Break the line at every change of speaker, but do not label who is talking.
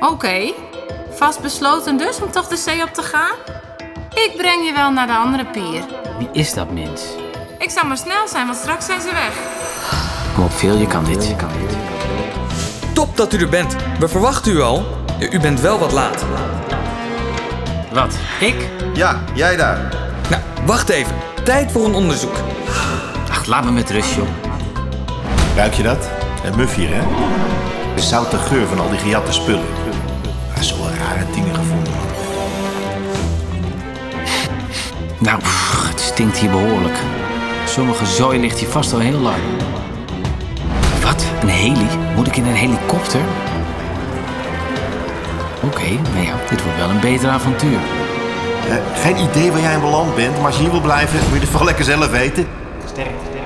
Oké, vastbesloten dus om toch de zee op te gaan? Ik breng je wel naar de andere pier.
Wie is dat mens?
Ik zal maar snel zijn, want straks zijn ze weg.
Kom op, veel, je kan dit. Je kan dit.
Top dat u er bent. We verwachten u al. U bent wel wat laat.
Wat? Ik?
Ja, jij daar.
Nou, wacht even. Tijd voor een onderzoek.
Ach, laat me met rust, joh.
Ruik je dat? Het muf hier, hè? De zoute geur van al die gejatte spullen. Hij is wel rare dingen gevonden, man.
Nou, pff, het stinkt hier behoorlijk. Sommige zooi ligt hier vast al heel lang. Wat? Een heli? Moet ik in een helikopter? Oké, nou ja, dit wordt wel een beter avontuur.
Eh, geen idee waar jij in beland bent, maar als je hier wil blijven, moet je het vooral lekker zelf weten.
Sterkte.